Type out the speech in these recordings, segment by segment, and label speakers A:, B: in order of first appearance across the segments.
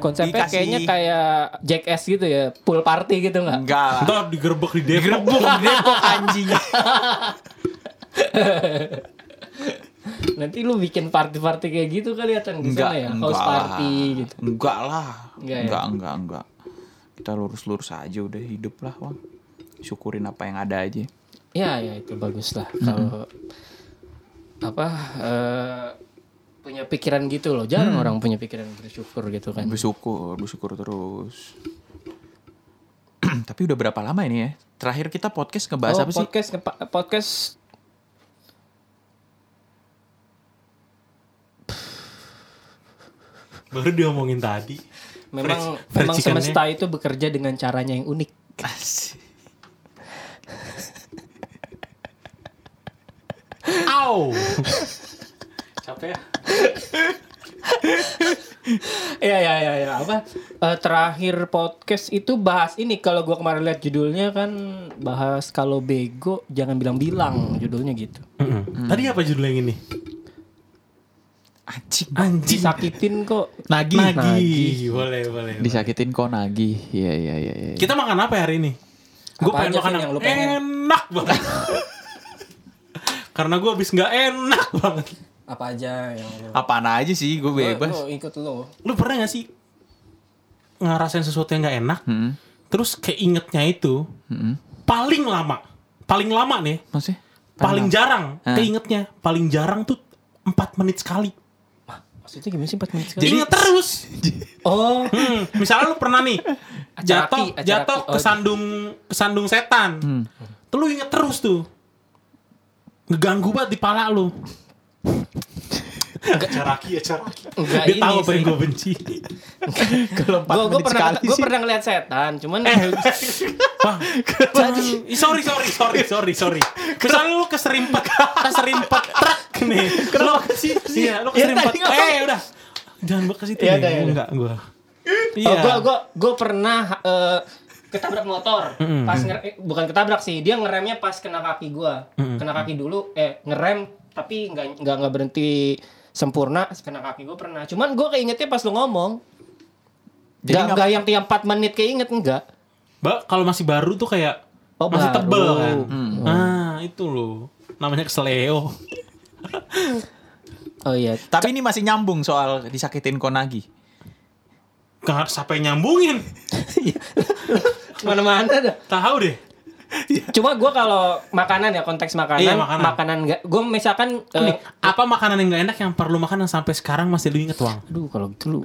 A: konsepnya
B: Dikasih.
A: kayaknya kayak jackass gitu ya, pool party gitu nggak?
B: Enggak lah.
C: Ntar digerebek di Depok.
B: Digerebek di Depok anjing.
A: Nanti lu bikin party-party kayak gitu kali ya Cang, di sana ya, house party
B: lah.
A: gitu.
B: Enggak lah.
A: Enggak
B: Enggak,
A: ya?
B: enggak, enggak, Kita lurus-lurus aja udah hidup lah, Bang. Syukurin apa yang ada aja.
A: Ya, ya itu bagus lah
B: Hmm.
A: kalau apa eh, punya pikiran gitu loh.
B: Hmm.
A: Jarang orang punya pikiran bersyukur gitu kan.
B: Bersyukur, bersyukur terus. Tapi udah berapa lama ini ya? Terakhir kita podcast ngebahas
A: Oh,
B: apa sih?
A: podcast ngepa- podcast
C: Baru diomongin tadi.
A: memang
C: Fried- fried
A: memang
C: chickennya.
A: semesta itu bekerja dengan caranya yang unik.
B: Asik.
C: Au. Capek ya?
A: Iya ya ya ya apa eh, terakhir podcast itu bahas ini kalau gua kemarin lihat judulnya kan bahas kalau bego jangan bilang-bilang judulnya gitu.
C: Tadi apa judul yang ini?
B: Anjing.
C: Anjing.
A: Disakitin kok.
B: Nagi.
C: Nagih.
A: Nagih.
C: Boleh, boleh.
B: Disakitin kok nagih. Iya, iya, iya. iya.
C: Kita makan apa hari ini? Gue
A: Apa aja,
C: pengen makan
A: Vin, yang lu pengen?
C: enak banget. Karena gue habis nggak enak banget.
A: Apa aja yang lu
B: Apaan aja sih gue bebas.
A: Lu ikut lu.
C: Lu pernah gak sih ngerasain sesuatu yang nggak enak?
B: Hmm.
C: Terus keingetnya itu
B: Hmm.
C: paling lama, paling lama nih,
B: Maksudnya?
C: paling jarang
B: Hah?
C: keingetnya, paling jarang tuh 4 menit sekali.
A: Maksudnya gimana sih 4 menit sekali?
C: Ingat terus.
A: Oh,
C: Hmm, misalnya lu pernah nih
A: Acara
C: jatuh
A: pi, acara
C: jatuh
A: pi. Oh. Hmm.
C: kesandung kesandung setan. Tuh lu inget terus tuh. Ngeganggu banget di pala lu. Acaraki, acaraki.
A: Enggak
C: Dia
A: ini
C: tahu apa yang
A: sih.
C: gue benci.
B: Kalau empat
A: gua gua
B: menit
A: pernah
B: sekali
A: gua
B: sih. Eh,
A: pernah ngeliat setan, cuman
C: Eh, Wah, jadi- sorry, sorry, sorry, sorry, sorry. Misalnya lu keserimpet, keserimpet truk nih. Kenapa ke situ sih? Iya, lu
A: Ya,
C: keserimpet.
A: tadi ngomong.
C: eh, udah. Jangan gua ke situ
A: Iya,
C: ya,
A: udah, ya, udah.
C: Enggak, gua. Iya.
A: Oh, gua gua gua pernah eh, ketabrak motor. Pas nger- eh, bukan ketabrak sih, dia ngeremnya pas kena kaki gua. Kena kaki dulu eh ngerem tapi nggak nggak nggak berhenti sempurna kena kaki gua pernah. Cuman gua keingetnya pas lu ngomong.
B: Jadi
A: Jadi
B: nggak-
A: enggak yang tiap 4 menit keinget enggak.
C: Ba, kalau masih baru tuh kayak
A: Oh,
C: masih
A: baru.
C: tebel kan.
A: Hmm.
C: Nah, itu loh. Namanya keseleo.
A: Oh iya.
B: Tapi ini masih nyambung soal disakitin kok nagih.
C: Gak sampai nyambungin. Iya.
A: Mana-mana dah.
C: Tahu deh.
A: Cuma gua kalau makanan ya konteks makanan,
C: Iya, makanan.
A: enggak gua misalkan eh,
C: Nih, apa makanan yang gak enak yang perlu makan yang sampai sekarang masih lu inget, Wang?
A: aduh kalau gitu lu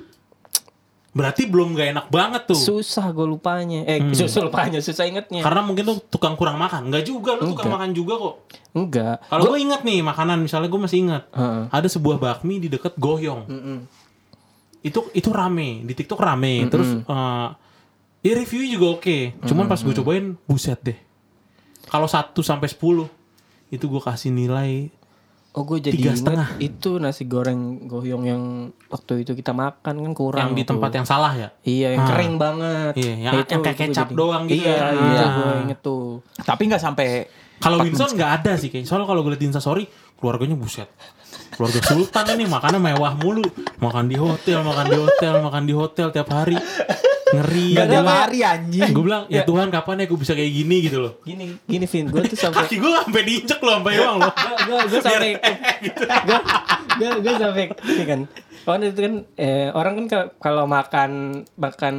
C: Berarti belum gak enak banget tuh.
A: susah gua lupanya. Eh, susah lupanya, susah ingetnya.
C: Hmm. Karena mungkin lu tukang kurang makan. Enggak juga, lu tukang
A: Enggak.
C: makan juga kok.
A: Enggak.
C: Kalau gue inget nih makanan, misalnya gue masih inget.
A: Heeh.
C: Ada sebuah bakmi di deket Goyong. Itu itu rame, di TikTok rame. Terus eh ya review juga oke. Cuman pas gue cobain, buset deh. Kalau 1 sampai 10 itu gue kasih nilai
A: Oh gue jadi
C: Tiga
A: ingat
C: setengah.
A: itu nasi goreng goyong yang waktu itu kita makan kan kurang
C: yang di
A: tuh.
C: tempat yang salah ya.
A: iya yang
C: Ah.
A: kering banget
C: Iya, yang-
A: Nah,
C: yang kayak
A: gua
C: kecap doang gitu
A: iya,
C: ya.
A: iya
B: Ah.
A: gue inget tuh
B: Tapi nggak sampai
C: Kalau
B: empat
C: Winston nggak ada sih kayaknya. Soalnya kalau gue liat di Instastory, keluarganya buset. Keluarga Sultan ini makannya mewah mulu. Makan di hotel, makan di hotel, makan di hotel tiap hari.
B: menit.
C: Ngeri.
B: Nggak
C: Gua
B: tiap
C: bilang,
B: hari anjing.
C: Gue bilang, ya Tuhan kapan ya gue bisa kayak gini gitu loh.
A: gini gini Vin gue tuh sampai
C: Kaki gue sampai diinjek loh, sampai uang loh.
A: gue gue sampai gue gue gue sampai ini kan kan itu kan eh, orang kan kalau- kalau makan makan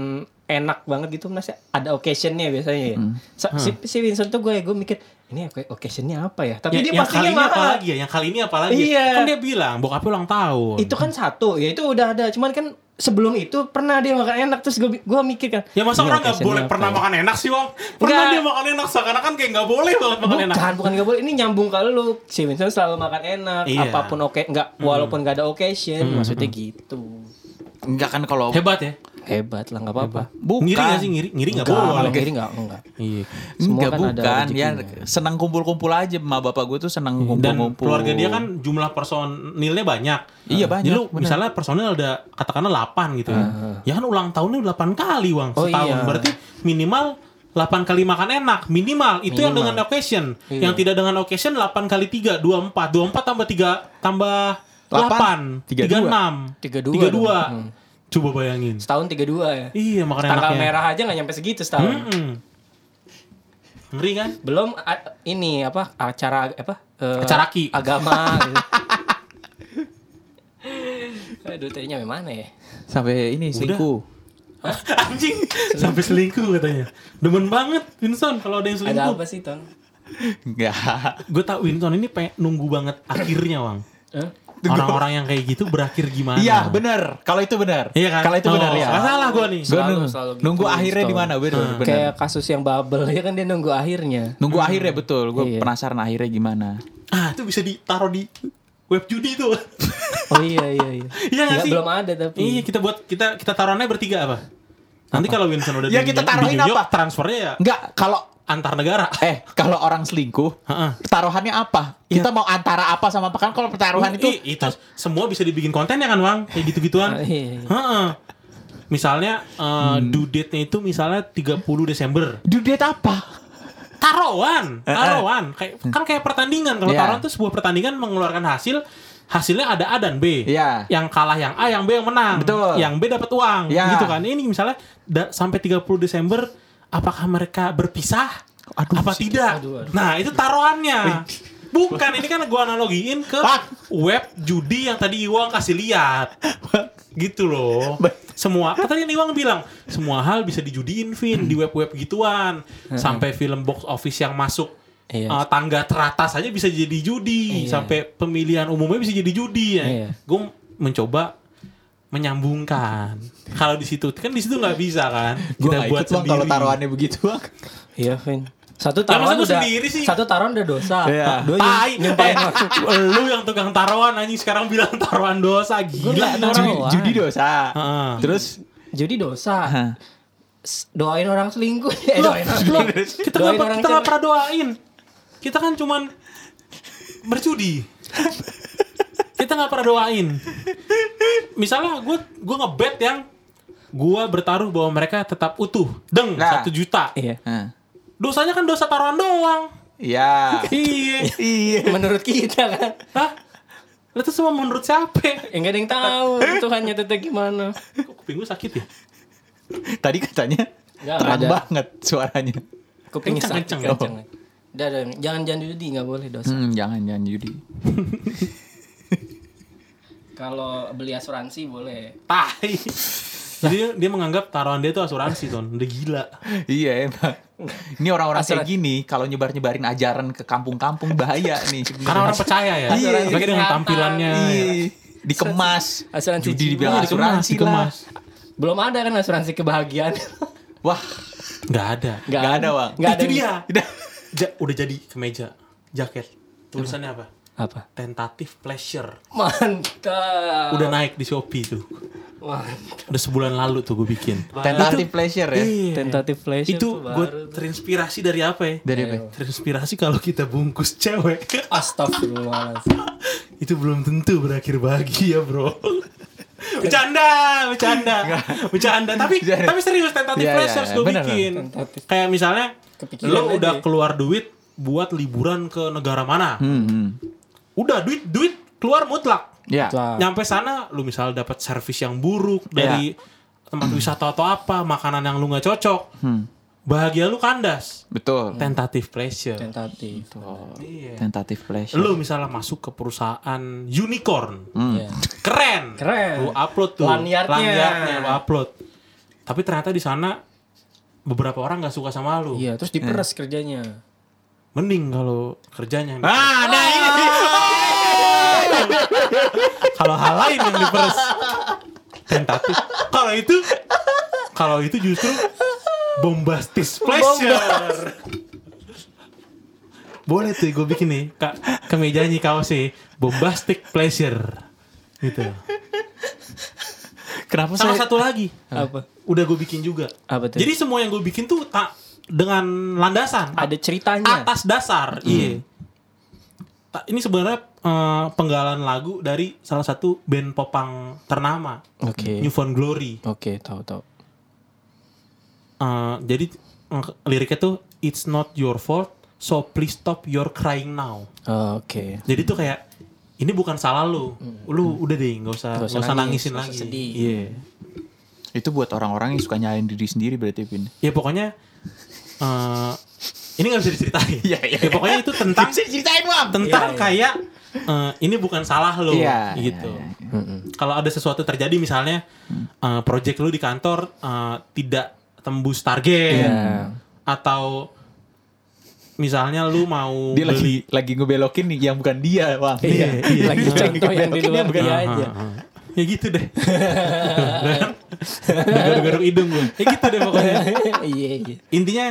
A: enak banget gitu masih ada occasionnya biasanya ya. Sa-
C: Hmm.
A: Si, si Vincent tuh gue gue mikir ini oke- occasionnya apa ya? Tapi
C: Ya,
A: dia
C: yang kali
A: pastinya
C: ini apa
A: mahal.
C: lagi ya? Yang kali ini apa lagi?
A: Iya.
C: Kan dia bilang, bokapnya ulang tahun.
A: itu kan satu ya itu udah ada cuman kan sebelum itu pernah dia makan enak terus gue gua mikir kan
C: Ya masa
A: "Ini
C: orang nggak
A: occasionnya
C: boleh
A: apa
C: pernah
A: ya?"
C: makan enak sih, Wong? Pernah
A: Nggak.
C: dia makan enak, seakan-akan kayak nggak boleh banget makan enak.
A: bukan bukan nggak boleh ini nyambung kalau lu si Vincent selalu makan enak
C: Iya. Hmm.
A: apapun oke nggak walaupun nggak ada occasion maksudnya gitu
B: Enggak kan kalau
C: Hebat ya?
A: hebat lah nggak apa-apa
B: bukan.
C: Ngiri nggak sih? Ngiri, ngiri nggak
A: Nggak, kalau
C: boleh.
A: kiri nggak nggak
C: Iya.
A: Semua
B: Enggak
A: kan ada
B: bukan ya
A: rezekinya.
B: senang kumpul-kumpul aja sama bapak gue tuh senang
C: Iya. dan
B: kumpul-kumpul.
C: keluarga dia kan jumlah personilnya banyak.
B: Iya,
C: Nah,
B: banyak,
C: Jadi lu
B: benar.
C: misalnya personil ada katakanlah 8 gitu ya. Ya kan ulang tahunnya 8 kali, Wang,
A: Oh,
C: setahun.
A: iya.
C: Berarti minimal 8 kali makan enak, minimal. Itu yang dengan occasion. Yang tidak dengan occasion 8 kali 3, 24. 24 tambah 3 tambah 8,
B: Delapan,
C: 36, 32.
A: 32 dong. Hmm.
C: Coba bayangin.
A: Setahun 32 ya.
C: Iya makan
A: Tanggal
C: enaknya. Hmm?
A: merah aja nggak nyampe segitu setahun.
C: Mm-mm. Ngeri kan?
A: Belum a- ini apa acara apa? eh,
C: Acaraki.
A: agama gitu. Aduh, tadinya mana ya?
B: Sampai ini selingkuh.
C: Anjing sampai selingkuh katanya. Demen banget Winston kalau ada yang
A: Ada
C: selingkuh.
A: apa sih, Ton?
B: Enggak.
C: Gue tau Winston ini pengen nunggu banget akhirnya, Wang.
A: Hah?
C: Orang-orang yang kayak gitu berakhir gimana?
B: Iya, benar. Kalau itu benar.
C: Iya kan?
B: Kalau itu
C: Oh,
B: benar ya.
C: nggak salah gue nih.
B: Gua
A: Selalu-
B: nunggu,
A: selalu gitu, Ah.
B: nunggu akhirnya
A: Stone.
B: di mana? Benar, benar.
A: Kayak kasus yang bubble ya kan dia nunggu akhirnya.
B: Nunggu
C: Hmm.
B: akhirnya betul. Gue
A: Iya.
B: penasaran akhirnya gimana.
C: Ah, itu bisa ditaruh di web judi tuh.
A: Oh iya iya iya.
C: Iya nggak
A: Nggak,
C: sih?
A: belum ada tapi.
C: iya, kita buat kita kita taruhannya bertiga apa? Nanti kalau Winston udah
B: Ya,
C: di-
B: kita taruhin
C: di New York,
B: apa?
C: transfernya ya
B: Enggak, kalau
C: antar negara.
B: eh kalau orang selingkuh,
C: Heeh.
B: taruhannya apa?
C: Iya.
B: Kita mau antara apa sama apa kan kalau pertaruhan itu
C: Ih, itu semua bisa dibikin konten ya kan, Wang? Kayak gitu-gituan.
A: Ah, iya, iya.
C: Heeh. Misalnya eh,
B: Hmm.
C: due date-nya itu misalnya 30 Desember.
B: due date apa?
C: Taruhan, taruhan. Kayak kan kayak pertandingan. Kalau
B: Eh, Iya.
C: taruhan itu sebuah pertandingan mengeluarkan hasil, hasilnya ada A dan B.
B: Iya.
C: Yang kalah yang A, yang B yang menang.
B: Betul.
C: Yang B dapat uang.
B: Iya.
C: Gitu kan. Ini misalnya da- sampai 30 Desember apakah mereka berpisah?
B: Aduh,
C: apa
B: sih.
C: tidak?
A: Aduh, aduh.
C: Nah, itu taruhannya. Bukan, ini kan gua analogiin ke
B: Bang.
C: web judi yang tadi Iwang kasih lihat. gitu loh. Semua, kan tadi Iwang bilang, semua hal bisa dijudiin, Vin, di web-web gituan. Sampai film box office yang masuk
A: Iya.
C: eh, tangga teratas aja bisa jadi judi.
A: Iya.
C: Sampai pemilihan umumnya bisa jadi judi. Ya.
A: Iya.
C: Gue mencoba menyambungkan. Kalau di situ, kan di situ nggak bisa kan.
B: Gue gak ikut bang kalau
C: sendiri.
B: taruhannya begitu bang.
A: Iya, Vin. Satu
C: Ya, masa
A: taruhan
C: gua
A: udah
C: sendiri sih?
A: satu taruhan udah dosa. Ah,
B: Iya.
A: Dua
C: Tai,
A: nyim- nyimpen.
C: eh, lu yang tukang taruhan anjing sekarang bilang taruhan dosa
A: nggak
C: gila ini orang.
A: taruh.
B: Judi,
A: Taruhan.
B: judi dosa.
C: Heeh.
B: Terus
A: Jadi dosa.
B: Hah.
A: S- Doain orang selingkuh. Eh,
C: Loh,
A: doain orang
C: loh,
A: selingkuh.
C: kita nggak
A: Doain orang
C: kita nggak
A: cerai.
C: pernah doain. Kita kan cuman berjudi. kita nggak pernah doain. Misalnya gue gue ngebet yang gue bertaruh bahwa mereka tetap utuh. Deng
B: Nah.
C: satu juta.
A: Iya.
B: Hah.
C: Dosanya kan dosa taruhan doang.
B: Iya.
C: Iya.
B: Iya.
A: Menurut kita kan.
C: Hah? Lah, Itu semua menurut siapa?
A: Ya, nggak ada yang tahu Tuhannya teteh gimana.
C: Kok kuping gue sakit ya?
B: Tadi katanya
A: Nggak
B: terang
A: ada.
B: banget suaranya.
A: Kupingnya
C: Kenceng,
A: sakit
C: kenceng. ya?
A: kan. jangan. Udah, udah, jangan jangan judi nggak boleh dosa.
B: Hmm, jangan jangan judi.
A: Kalau beli asuransi boleh.
C: Tai. Jadi Nah, dia, dia menganggap taruhan dia itu asuransi, Ton. Udah gila.
B: Iya emang. Ini orang-orang kayak
A: Asuran-
B: gini kalau nyebar-nyebarin ajaran ke kampung-kampung bahaya nih.
C: Karena orang percaya ya.
A: Iya.
C: Apalagi dengan
A: Kesehatan.
C: tampilannya. ya.
B: Iya. dikemas.
A: Asuransi
B: Judi
A: jiwa.
B: dibilang
A: Iya,
C: Dikemas,
B: asuransi lah.
C: dikemas.
A: Belum ada kan asuransi kebahagiaan.
B: Wah,
C: Nggak ada.
A: Nggak
B: Nggak ada, Bang.
A: Nggak ada.
C: Itu
A: yang-
C: dia.
B: udah.
C: Ja- udah jadi kemeja, jaket. Tulisannya apa?
A: Apa?
C: Tentative pleasure.
A: Mantap.
C: Udah naik di Shopee tuh.
A: Mantap.
C: Udah sebulan lalu tuh gue bikin.
B: Tentative pleasure ya.
C: Iya.
A: Tentative pleasure
C: Itu
A: tuh baru
C: gue
A: tuh.
C: terinspirasi dari apa ya?
B: Dari apa?
C: Terinspirasi kalau kita bungkus cewek.
A: Astagfirullahaladzim.
C: itu belum tentu berakhir bahagia bro bercanda bercanda bercanda tapi
B: Bercanda.
C: tapi serius tentatif
B: Iya, iya,
C: pleasures
B: iya,
C: gue
B: bener,
C: bikin
A: Tentatif.
C: kayak misalnya
A: Kepikiran
C: lo
A: aja.
C: udah keluar duit buat liburan ke negara mana
B: Hmm, hmm.
C: udah duit duit keluar mutlak
B: Ya.
A: Lah.
C: nyampe sana lu misal dapat servis yang buruk dari tempat wisata atau apa makanan yang lu nggak cocok
B: Hmm,
C: bahagia lu kandas
B: betul.
C: tentatif pleasure
A: Tentatif.
C: Iya.
B: Tentative pleasure.
C: lu misalnya masuk ke perusahaan unicorn
A: Iya.
C: keren
A: Keren.
C: lu upload tuh
A: Lanyardnya.
C: lu upload tapi ternyata di sana beberapa orang nggak suka sama lu
A: Iya, terus diperas kerjanya.
C: mending kalau kerjanya yang diperes.
B: Ah, nah ini.
C: kalau hal lain yang diperes tentatif kalau itu kalau itu justru bombastis pleasure boleh tuh gue bikin nih kak kemejanya kaosnya bombastic pleasure gitu
B: Kenapa
C: sama
B: saya
C: satu lagi
A: Apa?
C: udah gue bikin juga.
A: Apa tuh?
C: Jadi semua yang gue bikin tuh tak dengan landasan
A: Ada Hmm. ceritanya.
C: atas dasar. Iya. Ta- Ini sebenarnya eh, penggalan lagu dari salah satu band popang ternama,
A: Oke.
C: Newfound Glory.
A: Oke, tahu tahu.
C: Eh, jadi eh, liriknya tuh It's not your fault, so please stop your crying now.
A: Oke.
C: Jadi tuh kayak ini bukan salah lu. Lu udah deh nggak
A: Hmm.
C: usah
A: Nggak
C: nggak
A: usah
C: usah
A: nangis,
C: nangisin
A: nggak usah
C: lagi.
A: sedih.
C: Iya.
B: Itu buat orang-orang yang suka nyalain diri sendiri berarti Pin.
C: Ya pokoknya eh ini nggak bisa diceritain.
B: Iya, iya,
C: Ya, pokoknya itu tentang
B: Bisa diceritain, Bang.
C: tentang
A: Iya, iya.
C: kayak eh, ini bukan salah lo
B: Iya,
C: gitu.
B: iya, Hmm. iya.
C: Kalau ada sesuatu terjadi misalnya eh, project lu di kantor eh, tidak tembus target
A: Iya.
C: atau misalnya lu mau
B: Dia
C: beli
B: lagi lagi ngebelokin nih yang bukan dia, Bang.
A: Iya, iya. Lagi
B: Dia
A: contoh yang di
B: ngebelokin
A: luar
B: yang bukan
A: dia
B: dia.
A: aja.
C: ya gitu deh. Garuk-garuk hidung gue. Ya gitu deh pokoknya.
A: Iya, iya.
C: Intinya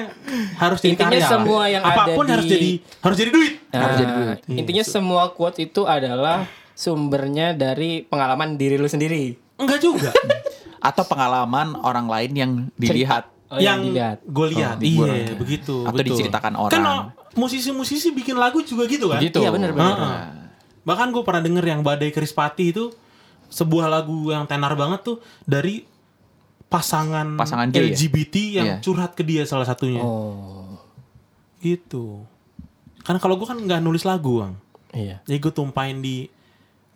C: harus jadi
A: Intinya
C: karya. lah.
A: semua yang ada
C: apapun harus
A: di-
C: jadi harus jadi duit.
B: Harus jadi
A: Nah, intinya semua quote itu adalah sumbernya dari pengalaman diri lu sendiri.
C: Enggak juga.
B: Atau pengalaman orang lain yang dilihat.
A: Oh, yang dilihat.
C: gue lihat.
B: Oh, dibuat.
C: iya, begitu.
B: Atau
C: betul.
B: diceritakan orang.
C: Kan oh, musisi-musisi bikin lagu juga gitu kan?
B: Gitu.
A: Iya, benar, benar.
C: Heeh. Bahkan gue pernah denger yang Badai Krispati itu sebuah lagu yang tenar banget tuh dari pasangan,
B: Pasangan gay ya?
C: LGBT yang
B: Iya.
C: curhat ke dia salah satunya.
A: Oh.
C: Gitu. Kan kalau gue kan nggak nulis lagu, Bang.
A: Iya.
C: Jadi gue tumpahin di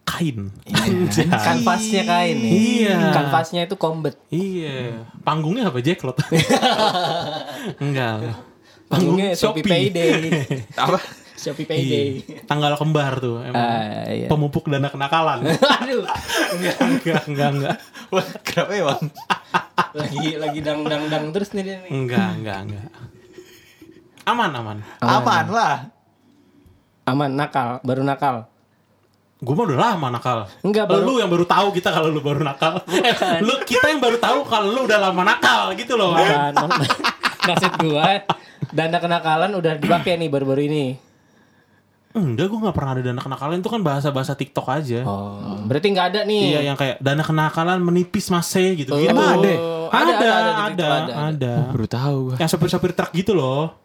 C: kain.
B: Iya.
C: Anjay.
A: Kanvasnya kain. ya.
C: Iya.
A: Kanvasnya itu kombet.
C: Iya. Panggungnya apa Jacklot? Enggak. lah.
A: Panggungnya Shopee Payday.
B: Apa?
A: Shopee
C: Iya.
A: Payday.
C: Tanggal kembar tuh emang.
A: Ah, iya.
C: Pemupuk dana kenakalan.
A: Aduh.
C: enggak, enggak, enggak, enggak.
B: Wah, Kenapa ya, Bang?
A: Lagi lagi dang dang dang terus nih dia nih.
C: Enggak, enggak, enggak. Aman, aman.
B: Aman lah.
A: Aman nakal, baru nakal.
C: Gue mah udah lama nakal.
A: Enggak,
C: Lu-
A: baru-
C: Lu yang baru tahu kita kalau lu baru nakal. Eh, lu kita yang baru tahu kalau lu udah lama nakal gitu loh. Bang.
A: Bukan. Maksud gua dana kenakalan udah dipakai nih baru-baru ini.
C: Enggak, gue nggak pernah ada dana kenakalan itu kan bahasa-bahasa TikTok aja.
A: Oh. Berarti nggak ada nih.
C: Iya yang kayak dana kenakalan menipis mase gitu. gitu.
B: Emang ada?
C: Ada,
A: Oh. Ada,
C: ada,
A: ada,
C: ada,
A: di TikTok ada,
C: ada.
B: Baru tahu gua.
C: Yang sopir-sopir truk gitu loh.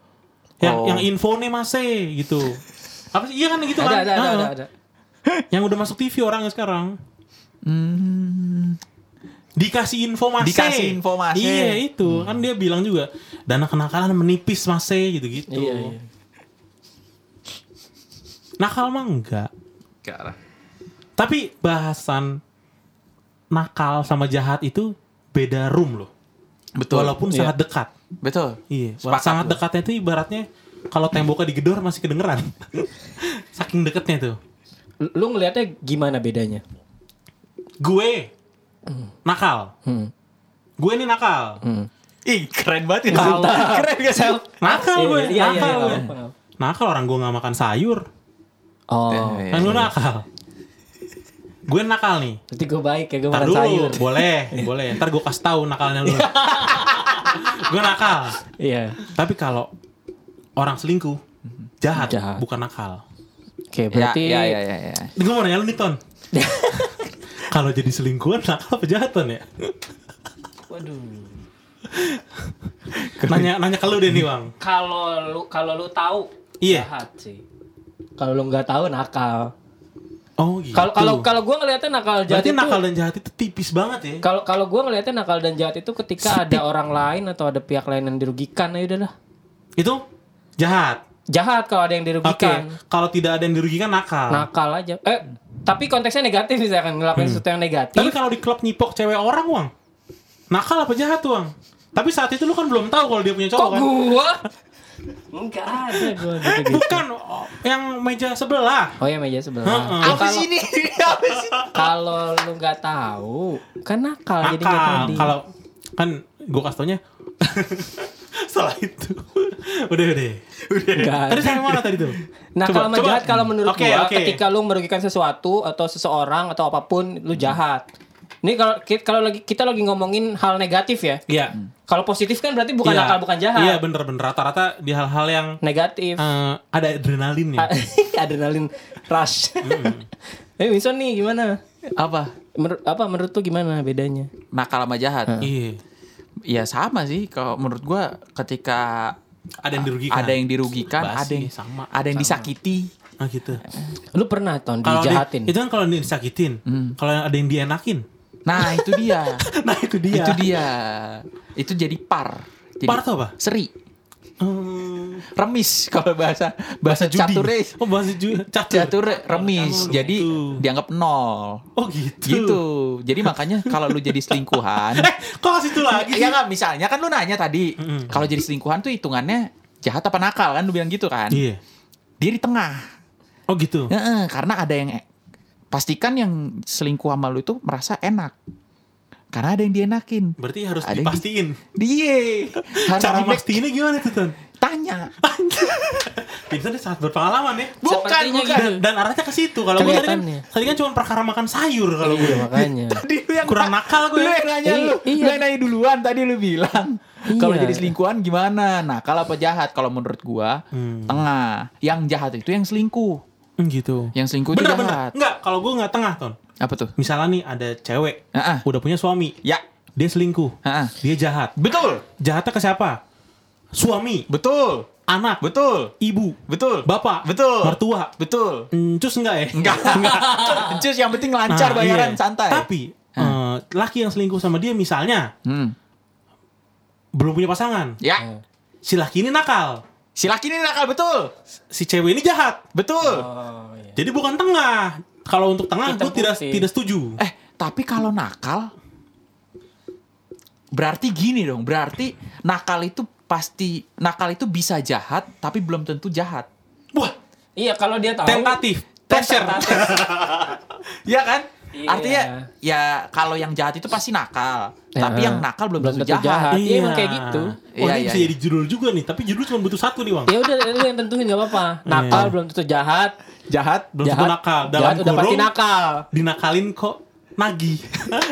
C: Yang
B: Oh.
C: yang info nih mase gitu. Apa sih? Iya kan gitu
A: Ada
C: kan?
A: ada ada
C: Ah,
A: ada. ada.
C: Yang udah masuk TV orangnya sekarang.
B: Hmm.
C: Dikasih info mase.
B: Dikasih info mase.
A: eh.
C: Iya
A: Hmm.
C: itu. Kan dia bilang juga dana kenakalan menipis mase gitu-gitu.
A: Iya, iya.
C: Nakal mah enggak.
B: Enggak lah.
C: Tapi bahasan nakal sama jahat itu beda room loh.
B: Betul.
C: Walaupun
B: Iya.
C: sangat dekat.
B: Betul.
C: Iya,
B: Sepakat
C: sangat
B: gua.
C: dekatnya itu ibaratnya kalau temboknya digedor masih kedengeran. Saking deketnya tuh.
A: Lu- Lu ngelihatnya gimana bedanya?
C: Gue nakal.
A: Hmm.
C: Gue ini nakal.
B: Ih, keren banget ya.
C: Kalau-
B: keren gak sih?
C: Nakal gue,
A: Iya, iya, iya,
C: nakal
A: nggak
C: gue.
A: apa-apa, nggak apa-apa.
C: Nakal orang gue nggak makan sayur.
A: Oh.
B: Iya,
C: Kan lu
B: iya.
C: nakal. Gue nakal nih.
A: Berarti gue baik ya gue
C: Ntar
A: makan
C: dulu,
A: sayur. Iya.
C: boleh, boleh. Ntar gue kasih tahu nakalnya lu. gue nakal.
A: Iya.
C: Tapi kalau orang selingkuh, jahat,
A: Jahat.
C: bukan nakal.
A: Oke, berarti
B: Ya, ya, ya, ya.
C: Gue mau nanya lu nih, Ton. kalau jadi selingkuhan, nakal apa jahat, Ton, ya?
A: waduh.
C: nanya nanya ke lu deh nih bang
A: Kalau lu kalau lu tahu
C: Iya.
A: jahat sih. Kalau lu nggak tahu nakal.
C: oh gitu
A: Kalau kalau kalau gue ngelihatnya nakal jahat
C: berarti
A: itu
C: nakal dan jahat itu tipis banget ya
A: kalau kalau gue ngelihatnya nakal dan jahat itu ketika ada orang lain atau ada pihak lain yang dirugikan ya udahlah.
C: itu jahat
A: Jahat kalau ada yang
C: oke
A: dirugikan.
C: kalau tidak ada yang dirugikan nakal
A: Nakal aja. Eh, tapi konteksnya negatif misalkan ngelakuin sesuatu yang negatif.
C: Hmm. tapi kalau di klub nyipok cewek orang bang nakal apa jahat bang tapi saat itu lu kan belum tahu kalau dia punya
A: Kok
C: cowok kan
A: gua? Enggak ada gua gitu.
C: bukan oh, yang meja sebelah
A: Oh ya meja sebelah.
C: Heeh.
A: Lu
B: Apa
A: kalau-
B: sih ini? Apa sih?
A: Kalau lu nggak tahu, kan nakal jadi nggak
C: nakal
A: tadi.
C: kalau kan gue kasih taunya setelah itu udah udah
A: Nggak.
C: tadi sampai mana tadi tuh
A: Nah,
C: Coba,
A: kalau
C: coba.
A: jahat kalau menurut
C: Oke,
A: gua
C: oke.
A: ketika lu merugikan sesuatu atau seseorang atau apapun lu jahat. Ini kalau ki- kalau lagi kita lagi ngomongin hal negatif ya.
C: iya
A: Kalau positif kan berarti bukan
C: Iya.
A: nakal, bukan jahat.
C: Iya bener-bener rata-rata di hal-hal yang
A: Negatif. Ah.
C: eh, ada adrenalinnya.
A: Adrenalin rush. Eh, Winston nih gimana?
B: Apa?
A: Menurut apa menurut tuh gimana bedanya?
B: Nakal sama jahat.
C: Iya.
B: Ya sama sih kalau menurut gua ketika
C: Ada yang dirugikan.
B: ada yang dirugikan,
C: Basi,
B: ada yang Hmm,
C: sama,
B: ada yang
C: sama.
B: disakiti.
C: Nah gitu.
A: Lu pernah ton
C: Kalau di-
A: dijahatin?
C: itu kan kalau yang disakitin.
B: Hmm.
C: Kalau yang ada yang dienakin.
B: Nah, itu dia.
C: Nah itu dia.
B: Itu dia. Itu jadi par. Jadi
C: Par tuh apa?
B: Seri.
C: Hmm.
B: remis kalau bahasa bahasa,
C: judi.
B: cature
C: Oh bahasa judi. Catur.
B: cature remis
C: Catur.
B: jadi
C: Gitu.
B: dianggap nol
C: Oh gitu.
B: gitu jadi makanya kalau lu jadi selingkuhan
C: Eh, kok kasih itu lagi sih?
B: ya nggak misalnya kan lu nanya tadi kalau jadi selingkuhan tuh hitungannya jahat apa nakal kan lu bilang gitu kan
C: Iya.
B: dia di tengah
C: Oh gitu.
B: Heeh, karena ada yang e-, pastikan yang selingkuh sama lu itu merasa enak karena ada yang dienakin
C: Berarti harus
B: Ada yang
C: dipastiin.
B: dia harus
C: Cara
B: di-back-
C: pastiinnya gimana tuh, Ton?
B: tanya
C: Vincent ini sangat berpengalaman ya.
B: Bukan,
A: Sepertinya
B: bukan.
C: Dan, dan arahnya ke situ. Kalau gue tadi kan,
A: Kelihatannya.
C: tadi kan cuma perkara makan sayur kalau
A: iya
C: gue.
A: makanya
B: tadi lu yang
C: Kurang nakal gue.
B: lu yang nanya
A: Iya,
B: lu
A: iya.
B: lu yang nanya duluan tadi lu bilang
A: Iya.
B: kalau jadi selingkuhan gimana nakal apa jahat kalau menurut gua
C: Hmm.
B: tengah yang jahat itu yang selingkuh
C: Hmm, gitu.
B: yang selingkuh itu
C: Bener
B: jahat
C: bener. Enggak, kalau gue nggak tengah, Ton.
B: apa tuh
C: Misalnya nih ada cewek
B: Ah, ah.
C: udah punya suami,
B: ya
C: dia selingkuh,
B: Ah, ah.
C: dia jahat.
B: betul
C: Jahatnya ke siapa? Suami,
B: betul
C: anak,
B: betul
C: ibu,
B: betul
C: bapak,
B: Betul.
C: mertua.
B: betul
C: Encus enggak ya?
B: enggak Cus yang penting lancar
C: Nah,
B: bayaran
C: iya.
B: santai
C: Tapi eh, laki yang selingkuh sama dia misalnya
B: Hmm.
C: belum punya pasangan,
A: Oh.
B: ya
C: si laki ini nakal,
B: si laki ini nakal betul
C: si cewek ini jahat.
B: betul
A: oh iya
C: Jadi bukan tengah. Kalau untuk tengah,
A: Hitam
C: gue tidak
A: putih.
C: tidak setuju.
B: Eh, tapi kalau nakal berarti gini dong, berarti nakal itu pasti nakal itu bisa jahat tapi belum tentu jahat.
C: Wah,
A: iya kalau dia tahu
C: tentatif, pressure.
B: Iya kan?
A: Iya.
B: Artinya ya kalau yang jahat itu pasti nakal,
A: Ya.
B: tapi yang nakal belum, tentu jahat.
A: Iya, emang kayak gitu.
B: Iya,
C: Oh, ini
B: iya,
C: bisa
B: iya.
C: jadi judul juga nih, tapi judul cuma butuh satu nih, Bang.
A: ya udah lu yang tentuin gak apa-apa nakal belum tentu jahat
B: Jahat
C: Iya. Belum tentu nakal. Dalam
A: jahat udah pasti
C: kurung,
A: nakal
C: Dinakalin kok nagih.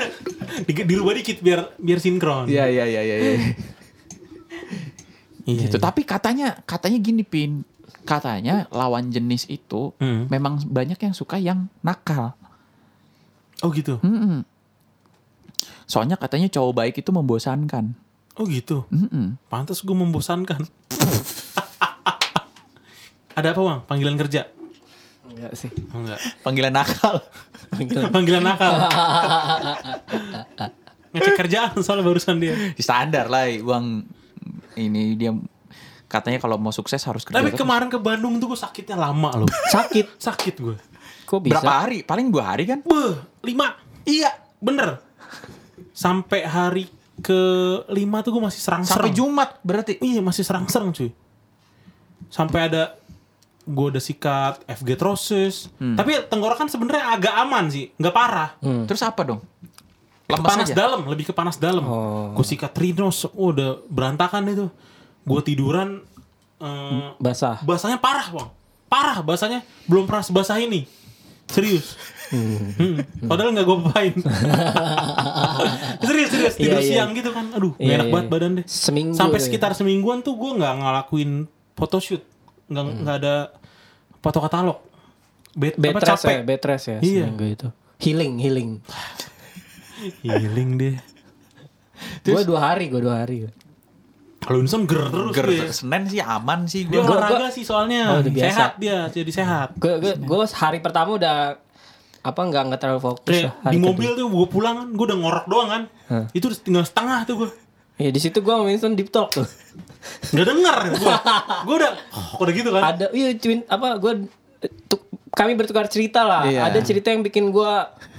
C: di, dirubah dikit biar biar sinkron.
B: Iya, iya, iya, iya. iya.
C: Iya,
B: gitu.
C: iya.
B: Tapi katanya katanya gini, Pin. Katanya lawan jenis itu
C: Hmm.
B: memang banyak yang suka yang nakal.
C: Oh gitu.
B: Mm-mm. Soalnya katanya cowok baik itu membosankan.
C: Oh gitu.
B: Mm-mm.
C: Pantas gue membosankan. Ada apa, Bang? Panggilan kerja?
A: enggak sih
C: Oh, enggak.
B: Panggilan nakal.
A: Gitu.
C: Panggilan nakal. Ngecek kerjaan soalnya barusan dia.
B: Standar lah uang ini dia katanya kalau mau sukses harus kerja.
C: Tapi
B: terus.
C: kemarin ke Bandung tuh gue sakitnya lama loh.
A: sakit
C: Sakit gue.
A: kok bisa
B: berapa hari? Paling dua hari kan?
C: Beh, lima. Iya, bener. Sampai hari ke lima tuh gue masih
B: Sampai
C: serang-serang.
B: Jumat berarti.
C: Iya, masih serang-serang cuy. Sampai ada gue udah sikat FG troses. Tapi tenggorokan sebenarnya agak aman sih, nggak parah.
B: Terus apa dong? Lemas
C: panas
B: Hmm, aja.
C: dalam, lebih ke panas dalam.
A: Oh.
C: Gue sikat Trinos, oh, udah berantakan itu. Gue tiduran, eh,
A: basah
C: basahnya parah bang, parah basahnya belum pernah sebasah ini. Serius, Hmm. padahal nggak gue papain. serius serius
A: Iya,
C: tidur
A: iya.
C: siang gitu kan, aduh nggak
A: Iya,
C: enak
A: iya.
C: banget badan deh.
A: Seminggu
C: Sampai
A: deh.
C: sekitar semingguan tuh gue nggak ngelakuin photoshoot, nggak
A: Hmm.
C: nggak ada foto katalog. Bet,
A: bed
C: apa,
A: rest
C: capek.
A: ya bed rest ya
C: Iya.
A: seminggu itu healing healing
C: Healing deh.
A: gue dua hari gue dua hari
C: Kalau Winston ger terus
B: Ger,
C: dia. Iya.
B: Senin sih aman sih
C: Dia
B: gue.
A: Gua-
C: olahraga
A: gua-
C: sih soalnya
A: Oh, udah biasa.
C: sehat dia jadi sehat.
A: gue gue hari pertama udah apa nggak nggak terlalu fokus
C: Kayak
A: lah hari
C: Iya, di
A: kedua.
C: mobil tuh gue pulang kan, gue udah ngorok doang kan. Itu udah tinggal setengah tuh gue.
A: ya di situ gue sama Winston deep talk tuh
C: Gak denger gue. Gue udah, oh, udah gitu kan.
A: ada iya cuin apa gue kami bertukar cerita lah
B: Iya.
A: ada cerita yang bikin gue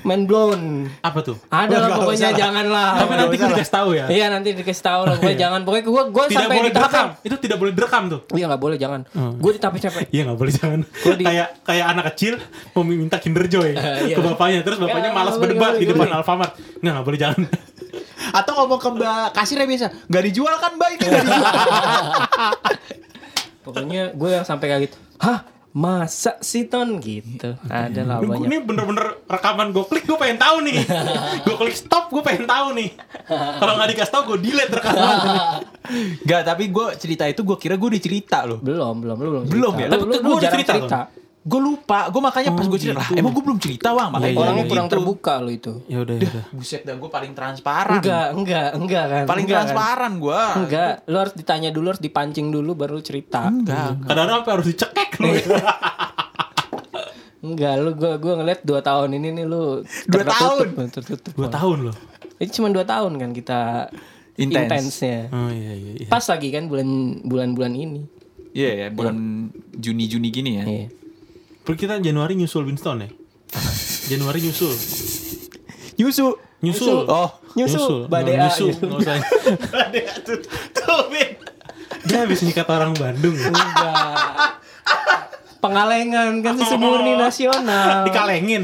A: mind blown
C: Apa tuh?
A: ada lah pokoknya janganlah
C: Tapi nanti gue dikasih tahu ya.
A: Ah, iya nanti dikasih tahu lah gue jangan pokoknya gue gue
C: Tidak
A: sampai
C: boleh
A: ditangkap
C: direkam. Itu tidak boleh direkam tuh.
A: iya nggak boleh jangan gue ditapis capek
C: Iya gak boleh jangan.
A: Gua di-
C: Kayak kayak anak kecil mau minta Kinder
A: Eh,
C: Joy
A: iya.
C: ke bapaknya. Terus bapaknya
A: Nggak,
C: malas
A: nggak boleh,
C: berdebat
A: nggak
C: di
A: boleh,
C: depan Alfamart. Nggak, gak boleh jangan.
B: Atau ngomong ke mbak kasirnya biasa, nggak dijual kan mbak ini nggak dijual.
A: pokoknya gue yang sampai kayak gitu hah masa sih ton gitu ada lah
C: Ini-
A: banyak
C: Ini bener-bener rekaman gue klik gue pengen tahu nih. gue klik stop gue pengen tahu nih. Kalau nggak dikasih tahu gue delete rekaman.
B: Gak, tapi gue cerita itu gue kira gue dicerita loh.
A: belum belum lu belum
B: Belum ya?
A: cerita. Lu-
B: Tapi
A: lu, lu
C: tuh gua udah
A: jarang
C: cerita
A: cerita,
C: loh.
B: Gue lupa, gue makanya pas gue cerita,
C: gitu.
B: "Lah, emang gue belum cerita wah, makanya
C: Iya,
A: orangnya
C: iya,
A: kurang
B: gitu."
A: terbuka lo itu
C: Ya udah, ya udah.
B: Buset dah, gue paling transparan.
A: enggak enggak enggak kan
B: Paling
A: enggak, kan?
B: transparan gue.
A: enggak lu harus ditanya dulu harus dipancing dulu baru lu cerita
B: Enggak.
C: Kadang-kadang sampai harus dicekek lu.
A: Enggak, lu gua gua ngeliat dua tahun ini nih lu
B: Dua
A: tertutup,
B: tahun?
A: tertutup.
C: Dua tahun loh.
A: Ini cuma dua tahun kan kita
B: Intense.
A: intensnya.
C: Oh iya iya. iya.
A: Pas lagi kan bulan bulan-bulan ini.
B: Iya ya, bulan Juni-Juni gini ya.
A: Iya.
C: Pergi kita Januari nyusul Winston ya. Januari nyusul.
B: Yusu.
C: Nyusul.
B: Oh,
A: Nyusul, badai
C: Nggak, nyusul. Nggak usah.
D: Ada tuh, tuh Vin.
C: Dia habis nyikat orang Bandung. ya.
A: Enggak. Pengalengan kan itu murni nasional.
C: Dikalengin.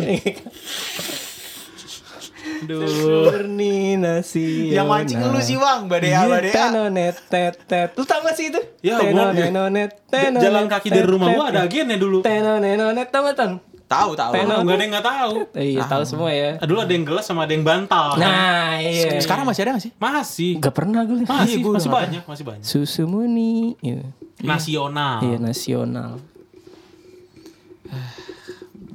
C: Aduh.
A: Murni nasional.
D: Yang mancing lu sih Bang, badea
A: Iya,
D: badea.
A: tenonet tetet. Iya, Lu tau gak sih itu?
C: Ya,
A: Tenonet,
C: gua-
A: nenonet,
C: Ja-
A: tenonet,
C: Jalan kaki dari rumah gua ada agennya dulu.
A: Tenonenonet tau gak Ton?
B: tahu tahu.
A: Tenor.
C: Enggak ada yang nggak tahu.
A: Eh, Iya tahu semua ya.
C: Aduh ada yang gelas sama ada yang bantal.
A: Nah iya.
B: Sekarang masih ada gak sih?
C: Masih.
A: Gak pernah gue. lihat.
C: Masih,
B: Iya, gua
C: masih
B: nggak
C: banyak, masih banyak.
A: Susu murni. Iya.
C: Nasional.
A: Iya nasional.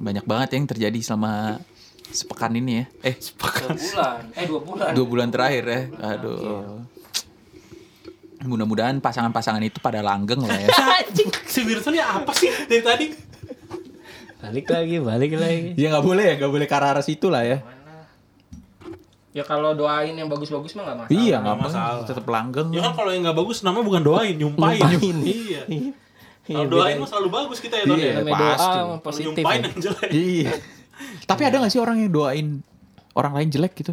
B: Banyak banget yang terjadi selama sepekan ini ya. Eh,
A: Dua bulan. Eh dua bulan.
B: dua bulan terakhir ya. Aduh. Mudah-mudahan pasangan-pasangan itu pada langgeng lah ya.
A: Anjing.
C: Si Wilson ya apa sih dari tadi?
A: Balik lagi, balik lagi.
B: ya nggak boleh ya, nggak boleh ke arah situ lah ya.
A: Ya kalau doain yang bagus-bagus mah gak masalah.
B: Iya nggak
C: masalah.
B: masalah. Tetap langgeng.
C: Ya kan kalau yang nggak bagus namanya bukan doain, nyumpain.
A: Nyumpain.
C: Iya.
A: Iya,
C: Kalau doain
A: beda-
C: mah selalu bagus kita ya Ton
B: Iya.
C: ya.
A: namanya
B: pasti.
A: doa mah
C: Kalau
A: positif.
C: nyumpain
A: ya.
C: yang jelek.
B: Iya. Tapi ada gak sih orang yang doain orang lain jelek gitu?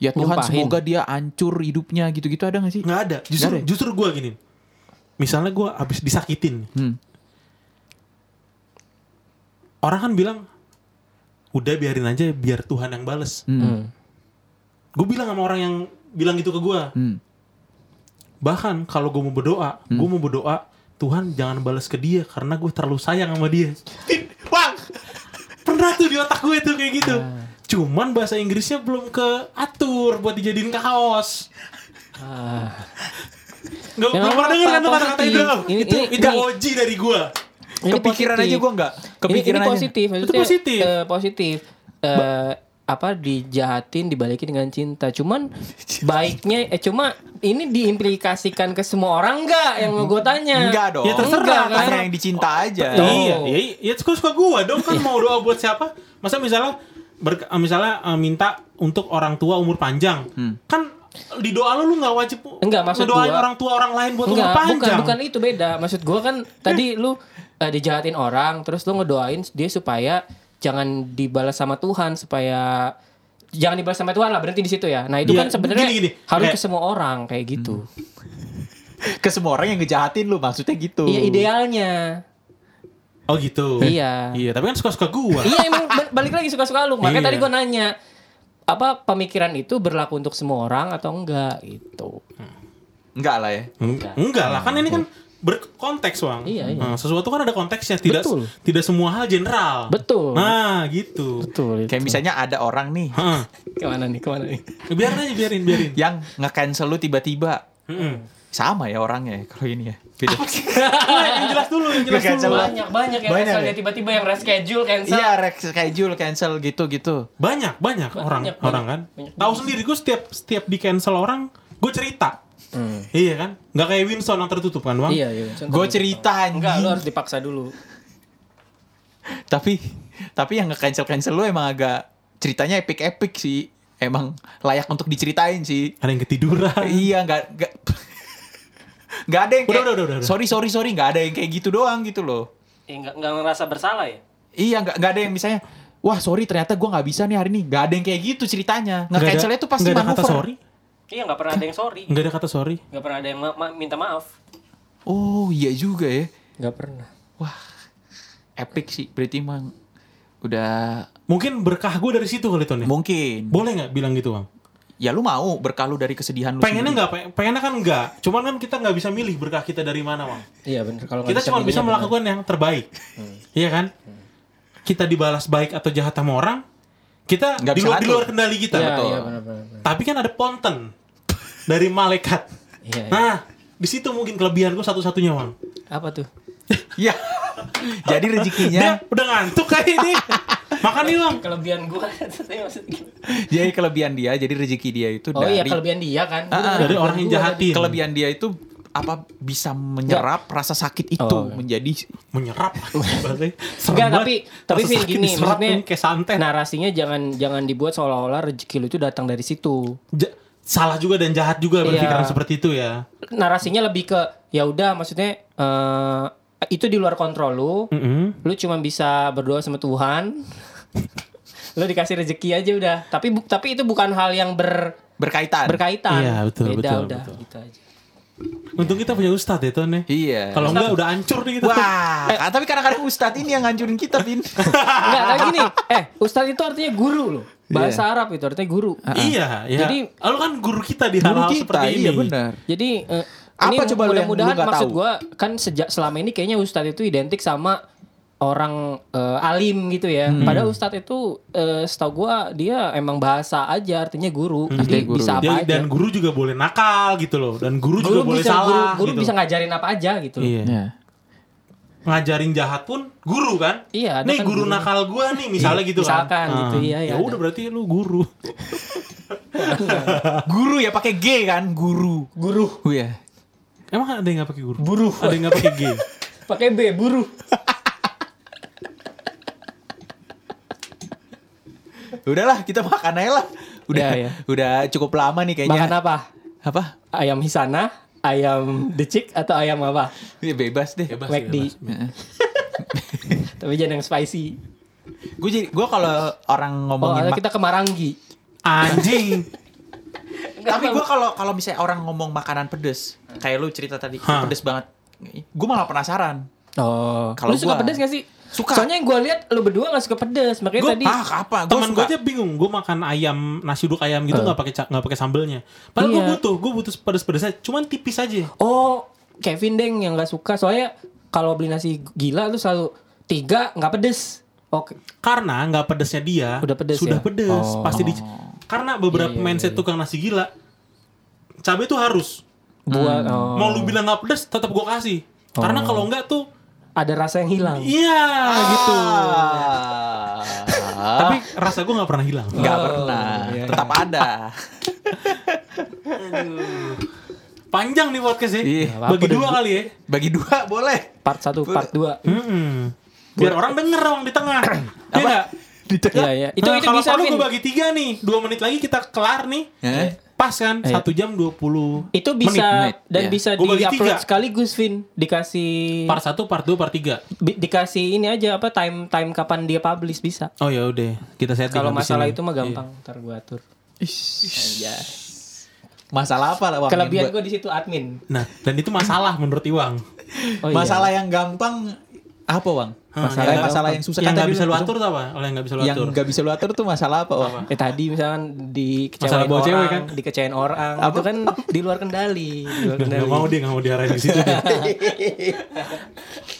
B: Ya Tuhan
A: Nyumpahin.
B: semoga dia hancur hidupnya gitu-gitu ada gak sih?
C: Nggak ada. Justru
B: Nggak ada ya?
C: justru gue gini. Misalnya gue habis disakitin,
B: Hmm.
C: orang kan bilang udah biarin aja biar Tuhan yang bales.
A: Hmm.
C: Gue bilang sama orang yang bilang gitu ke gue.
B: Hmm.
C: Bahkan kalau gue mau berdoa,
A: Hmm.
C: gue mau berdoa Tuhan jangan balas ke dia karena gue terlalu sayang sama dia. Bang, pernah tuh di otak gue tuh kayak gitu.
A: Ah.
C: Cuman bahasa Inggrisnya belum keatur buat dijadiin kaos.
A: Ah.
C: Gak,
A: Ya,
C: gak pernah
A: apa-
C: denger kan
A: apa-
C: kata-kata itu?
A: ini-
C: itu
A: ini-
C: itu
A: ini-
C: oji dari gue.
A: Ini
B: Kepikiran
A: positif.
B: aja gue nggak.
A: Ini,
B: Kepikiran
A: ini
B: aja.
A: positif, maksudnya
C: positif.
A: eh, positif. Eh, apa dijahatin dibalikin dengan cinta. Cuman baiknya eh cuma ini diimplikasikan ke semua orang enggak yang mau gue tanya?
B: Enggak dong.
C: Ya, terserah,
A: Enggak,
B: Tanya
A: kan?
B: yang dicinta aja.
A: Tuh.
C: Iya, iya, iya, suka suka gue dong kan mau doa buat siapa? Masa misalnya ber- misalnya eh, minta untuk orang tua umur panjang, kan di doa lu lu nggak wajib
A: Enggak, maksud
C: ngedoain
A: gua-
C: orang tua orang lain buat
A: Enggak,
C: umur
A: bukan,
C: panjang.
A: bukan itu beda. Maksud gua kan tadi lu eh, dijahatin orang, terus lu ngedoain dia supaya jangan dibalas sama Tuhan, supaya jangan dibalas sama Tuhan lah. Berhenti di situ ya. Nah itu
C: Iya,
A: kan sebenarnya
C: gini, gini.
A: harus
C: Kayak- Hmm.
A: ke semua orang kayak gitu.
B: Ke semua orang yang ngejahatin lu maksudnya gitu.
A: Iya idealnya.
C: Oh gitu.
A: Iya.
C: Iya, tapi kan suka suka gua.
A: iya emang ba- balik lagi suka-suka lu. Makanya
C: Iya.
A: tadi gua nanya apa pemikiran itu berlaku untuk semua orang atau enggak gitu.
C: Ah.
B: Enggak lah ya.
C: Eng- Enggak lah, kan ini kan berkonteks, Bang.
A: Iya, iya.
C: Nah, sesuatu kan ada konteksnya, tidak
A: Betul.
C: tidak semua hal general.
A: Betul.
C: Nah, gitu.
A: Betul.
B: Kayak misalnya ada orang nih
C: Heeh.
A: Kemana nih? Kemana nih?
C: Biarin aja, biarin,
A: Iya.
C: biarin.
B: yang nge-cancel lu tiba-tiba.
C: Heeh.
B: Sama ya orangnya ya, kalau ini ya. Beda.
C: Nah, yang jelas dulu, yang jelas
B: Nggak
C: dulu.
B: kacau.
A: Banyak banyak yang
B: Banyak,
A: cancel
B: ya?
A: ya, tiba-tiba yang reschedule cancel.
B: Iya, re- schedule cancel gitu-gitu.
C: Banyak, banyak orang,
A: banyak.
C: orang kan.
A: Banyak
C: Tahu sendiri gue setiap setiap di cancel orang, gue cerita.
B: Hmm.
C: Iya kan? Nggak kayak Winston yang tertutup kan, Bang?
A: Iya, iya.
B: Gue cerita
A: Enggak, lu
B: anjing.
A: harus dipaksa dulu.
B: tapi tapi yang nge-cancel cancel lu emang agak ceritanya epic epic sih emang layak untuk diceritain sih
C: Ada yang ketiduran.
B: iya nggak nggak nggak ada yang
C: Hmm. Udah,
B: kayak,
C: udah, udah, udah, udah.
B: sorry sorry sorry nggak ada yang kayak gitu doang gitu loh
A: Ya enggak enggak ngerasa bersalah ya?
B: iya nggak nggak ada yang misalnya wah sorry ternyata gue nggak bisa nih hari ini nggak ada yang kayak gitu ceritanya nge
C: Nggak ada-
B: cancelnya tuh pasti
C: nggak ada kata
B: manuver
C: sorry.
A: Iya, enggak pernah ada yang sorry.
C: Nggak ada kata sorry.
A: Enggak pernah ada yang ma- ma- minta maaf.
B: oh iya juga ya
A: Enggak pernah.
B: wah epic sih berarti emang udah
C: Mungkin berkah gue dari situ kali
B: Hmm.
C: Tony.
B: mungkin
C: Boleh nggak bilang gitu, Bang?
B: ya lu mau berkalu dari kesedihan lu
C: pengennya
B: sendiri.
C: nggak pe- pengennya kan nggak cuman kan kita nggak bisa milih berkah kita dari mana bang
A: Iya, benar. Kalau
C: kita cuma bisa melakukan yang terbaik
B: Hmm.
C: iya kan kita dibalas baik atau jahat sama orang kita
B: Nggak
C: di
B: bisa
C: luar, di
B: ngatur.
C: luar kendali kita
A: Iya,
B: Betul.
A: iya, benar benar. benar.
C: tapi kan ada ponten dari malaikat
A: Iya, iya.
C: nah di situ mungkin kelebihan gue satu-satunya bang
A: Apa tuh?
B: Iya. Jadi
A: Iya.
B: rezekinya
C: dia udah ngantuk kayak ini makan nih bang
A: Kelebihan gua maksudnya.
B: jadi kelebihan dia, jadi rezeki dia itu
A: Oh
B: dari
A: iya, kelebihan dia kan.
B: Ah, ah.
C: dari orang yang jahatin
B: kelebihan dia itu apa bisa menyerap rasa sakit itu
A: Oh.
B: menjadi
C: menyerap Bahasanya serem
A: Enggak,
C: banget.
A: tapi tapi
C: Rasa
A: Vin
C: sakit
A: gini,
C: diserap
A: maksudnya Nah.
C: ini kayak santet
A: narasinya jangan jangan dibuat seolah-olah rezeki lu itu datang dari situ.
C: Ja- salah juga dan jahat juga
A: Iya.
C: berpikiran seperti itu ya.
A: narasinya lebih ke ya udah maksudnya eh itu di luar kontrol lu
C: Mm-mm.
A: lu cuma bisa berdoa sama Tuhan lu dikasih rezeki aja udah tapi bu- tapi itu bukan hal yang ber
B: Berkaitan.
A: berkaitan
C: Iya,
A: beda
C: betul, betul,
A: udah
C: betul.
A: gitu aja
C: Untung kita punya ustadz ya Ton ya.
B: Iya.
C: Kalau enggak udah hancur nih kita.
B: Wah, ah, tapi kadang-kadang Ustadz ini yang ngancurin kita, Bin.
A: Enggak, tapi gini, eh ustadz itu artinya guru loh. Bahasa Arab itu artinya guru.
C: Iya, ya. Jadi
A: Jadi-
C: lu kan guru kita di
B: Guru
C: hal-hal
B: kita,
C: seperti ini.
B: iya benar.
A: Jadi eh,
B: Apa
A: ini
B: coba lu yang
A: mudah-mudahan
B: lu nggak
A: maksud
B: tahu?
A: gua kan sejak selama ini kayaknya ustadz itu identik sama orang eh, alim gitu ya.
C: Hmm.
A: Padahal ustadz itu eh, setahu gua dia emang bahasa aja artinya guru. Jadi
B: Artinya guru.
A: bisa apa
C: Dia-
A: aja.
C: dan Hmm. guru juga boleh nakal gitu loh. Dan guru, juga boleh
A: bisa
C: salah
A: guru, guru
C: gitu.
A: bisa ngajarin apa aja gitu. loh.
C: Iya.
B: Iya.
C: Ngajarin jahat pun guru kan?
A: Iya, ada
C: Nih
A: kan
C: guru,
A: guru.
C: nakal gua nih misalnya gitu
A: Misalkan
C: kan.
A: gitu,
C: Ah.
A: iya, iya,
C: Ya udah
A: ada.
C: berarti lu guru.
B: Guru ya pakai G kan, guru.
A: Guru
B: Oh ya.
C: Emang ada yang gak pakai guru? Buruh. Ada yang gak pakai G?
A: pakai B buruh.
B: Udahlah, kita makan aja lah. Udah,
A: Iya, iya.
B: udah cukup lama nih kayaknya.
A: Makan apa?
B: Apa?
A: Ayam hisana, ayam decik atau ayam apa?
B: Ya, bebas deh.
C: Bebas,
A: McD.
C: bebas.
A: Tapi jangan yang spicy.
B: Gue jadi gue kalau orang
A: Oh,
B: ngomongin mak-
A: kita ke Maranggi.
C: Anjing.
B: tapi gue kalau kalau misalnya orang ngomong makanan pedes, kayak lu cerita tadi
C: Hah.
B: pedes banget. Gue malah penasaran.
A: Oh,
B: Kalau
A: kalau lu suka
B: gua-
A: pedas gak sih?
B: Suka.
A: Soalnya yang gue lihat lu berdua gak suka pedas, makanya
B: Gue
A: tadi
B: ah apa? Gue
C: Temen gue aja bingung, gue makan ayam nasi uduk ayam gitu nggak pakai ca- nggak pakai sambelnya. Padahal gue
A: Eh. Iya.
C: butuh, gue butuh pedes-pedesnya, cuman tipis aja.
A: Oh, Kevin deng yang gak suka. Soalnya kalau beli nasi gila tuh selalu tiga nggak pedes. Oke.
C: Karena nggak pedesnya dia,
A: Udah pedes
C: sudah
A: ya?
C: pedes.
A: Oh. Iya,
C: Pasti di, karena beberapa mindset tukang nasi gila, cabai tuh harus.
A: Buat
B: Hmm.
A: oh,
C: Mau lu bilang nggak pedes, tetap gue kasih. Karena kalau nggak tuh,
A: ada rasa yang hilang.
C: iya
B: Ah.
C: gitu.
B: tapi
C: Tapi rasa gue nggak pernah hilang.
B: "Ah." nggak
A: Oh,
B: pernah.
A: iya,
B: Tetap ada.
C: Panjang nih podcastnya,
B: Iya.
C: bagi dua kali ya.
B: Bagi dua boleh.
A: Part 1, part 2.
C: Mm-mm. Biar orang denger dong di tengah. Iya nggak?
A: Iya, iya. Itu
C: Nah,
A: itu
C: kalau
A: bisa
C: perlu
A: Vin.
C: gue bagi tiga nih. Dua menit lagi kita kelar nih.
B: Eh?
C: Pas kan?
A: Iya.
C: Satu jam dua puluh.
A: Itu bisa
B: Menit, menit,
A: dan
B: iya.
A: bisa
C: Gua bagi
A: di-upload
C: tiga.
A: sekaligus Vin. Dikasih
C: Part satu, part dua, part tiga.
A: bi- dikasih ini aja apa time time kapan dia publish bisa.
C: Oh ya udah, kita setting.
A: Kalau
C: habis
A: masalah
C: ini.
A: itu mah gampang, ntar gue atur.
B: Iya. Masalah apa lah? Wang,
A: Kelebihan
B: yang buat-
A: gue di situ admin.
C: Nah, dan itu masalah menurut Iwang.
A: Oh, iya.
B: masalah yang gampang apa bang? Masalah
A: yang
B: masalah yang susah Kan
C: Yang Nah, nggak
B: tadi
C: bisa lu
B: bilang-
C: atur tau apa? Oleh yang nggak bisa lu
B: Yang
C: atur.
B: nggak bisa lu atur tuh masalah apa bang?
A: Eh tadi misalkan dikecewain
C: Masalah bawa
A: orang,
C: cewek, kan?
A: dikecewain orang, itu kan di luar kendali, di luar
C: Nggak
A: kendali.
C: mau dia nggak mau diarahin ke situ. dia.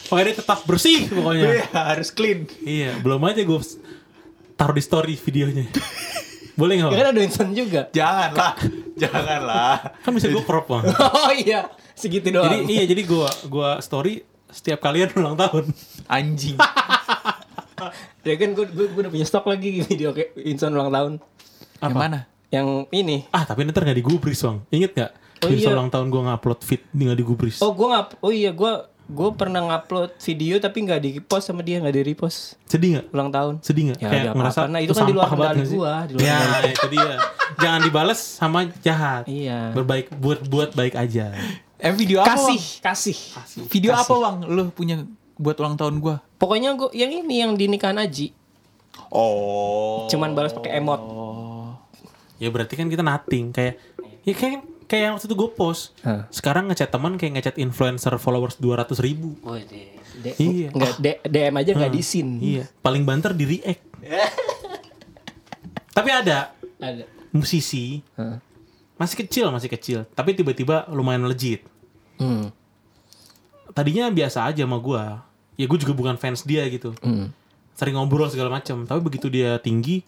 C: Pokoknya dia tetap bersih pokoknya.
B: Iya, harus clean.
C: iya, belum aja gue taruh di story videonya. Boleh nggak?
A: Ya
C: Bang?
A: kan ada Winston juga.
B: Janganlah, janganlah.
C: Kan bisa gue crop bang.
A: Oh iya, segitu doang.
C: jadi iya jadi gue gua story setiap kalian ulang tahun.
B: Anjing.
A: ya kan gue, gue, gue udah punya stok lagi video kayak Winston ulang tahun.
B: Yang mana?
A: Yang ini.
C: Ah tapi ntar nggak digubris bang. Ingat nggak?
A: Oh,
C: Di
A: iya.
C: ulang tahun gue ngupload fit nggak digubris.
A: Oh gue ngap, oh iya gue gue pernah ngupload video tapi nggak di post sama dia nggak di repost
C: Sedih nggak?
A: ulang tahun.
C: Sedih nggak?
A: Ya, nggak apa-apa. Nah, itu kan di luar
C: sampah banget
A: kendali
C: nggak sih?
A: gua, di luar
C: Ya itu dia. Jangan dibales sama jahat.
A: Iya.
C: Berbaik buat buat baik aja.
B: Eh video apa?
A: Kasih,
B: Bang?
A: kasih.
B: Video apa bang? Lu punya buat ulang tahun gua?
A: Pokoknya gue yang ini yang di nikahan Aji,
B: Oh.
A: cuman balas pakai emot.
C: Ya berarti kan kita nothing kayak ya kayak kayak yang waktu itu gue post.
A: Hah.
C: Sekarang ngechat teman kayak ngechat influencer followers 200 ribu.
A: Waduh,
C: Oh, Iya.
A: Nggak, D- DM aja nggak di scene.
C: Iya. Paling banter di react. Tapi ada
A: Ada.
C: musisi masih kecil masih kecil tapi tiba-tiba lumayan legit
A: Hmm.
C: tadinya biasa aja sama gua ya gue juga bukan fans dia gitu sering ngobrol segala macam tapi begitu dia tinggi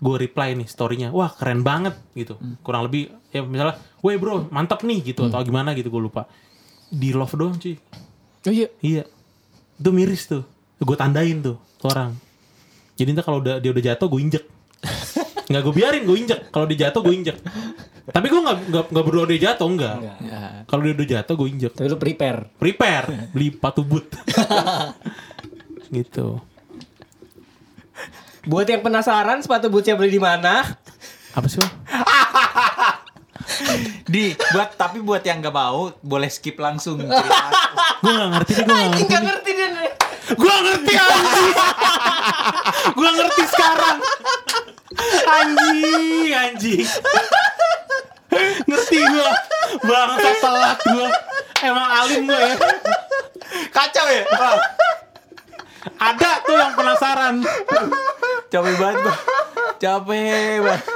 C: gue reply nih storynya wah keren banget gitu kurang lebih ya misalnya weh bro mantap nih gitu atau gimana gitu gue lupa di love doang cuy
A: Oh iya.
C: iya itu miris tuh gue tandain tuh ke orang jadi ntar kalau udah dia udah jatuh gue injek nggak gue biarin gue injek kalau dia jatuh gue injek tapi gue nggak nggak nggak berdoa dia jatuh enggak kalau dia udah jatuh gue injek
A: Tapi lu prepare.
C: prepare beli sepatu boot gitu
A: Buat yang penasaran sepatu bootsnya beli di mana?
C: apa sih Bang?
B: Di buat tapi buat yang nggak mau boleh skip langsung cerita.
C: Gue gak ngerti nih, gue gak
D: Anjing
C: ngerti.
D: gak ngerti dia nih.
C: Gue ngerti anjing. gue ngerti sekarang. Anjing, anjing. ngerti gue. Bangsa telat gue. Emang alim gue ya.
D: Kacau ya?
C: Ada tuh yang penasaran.
B: Capek banget gua. Capek banget.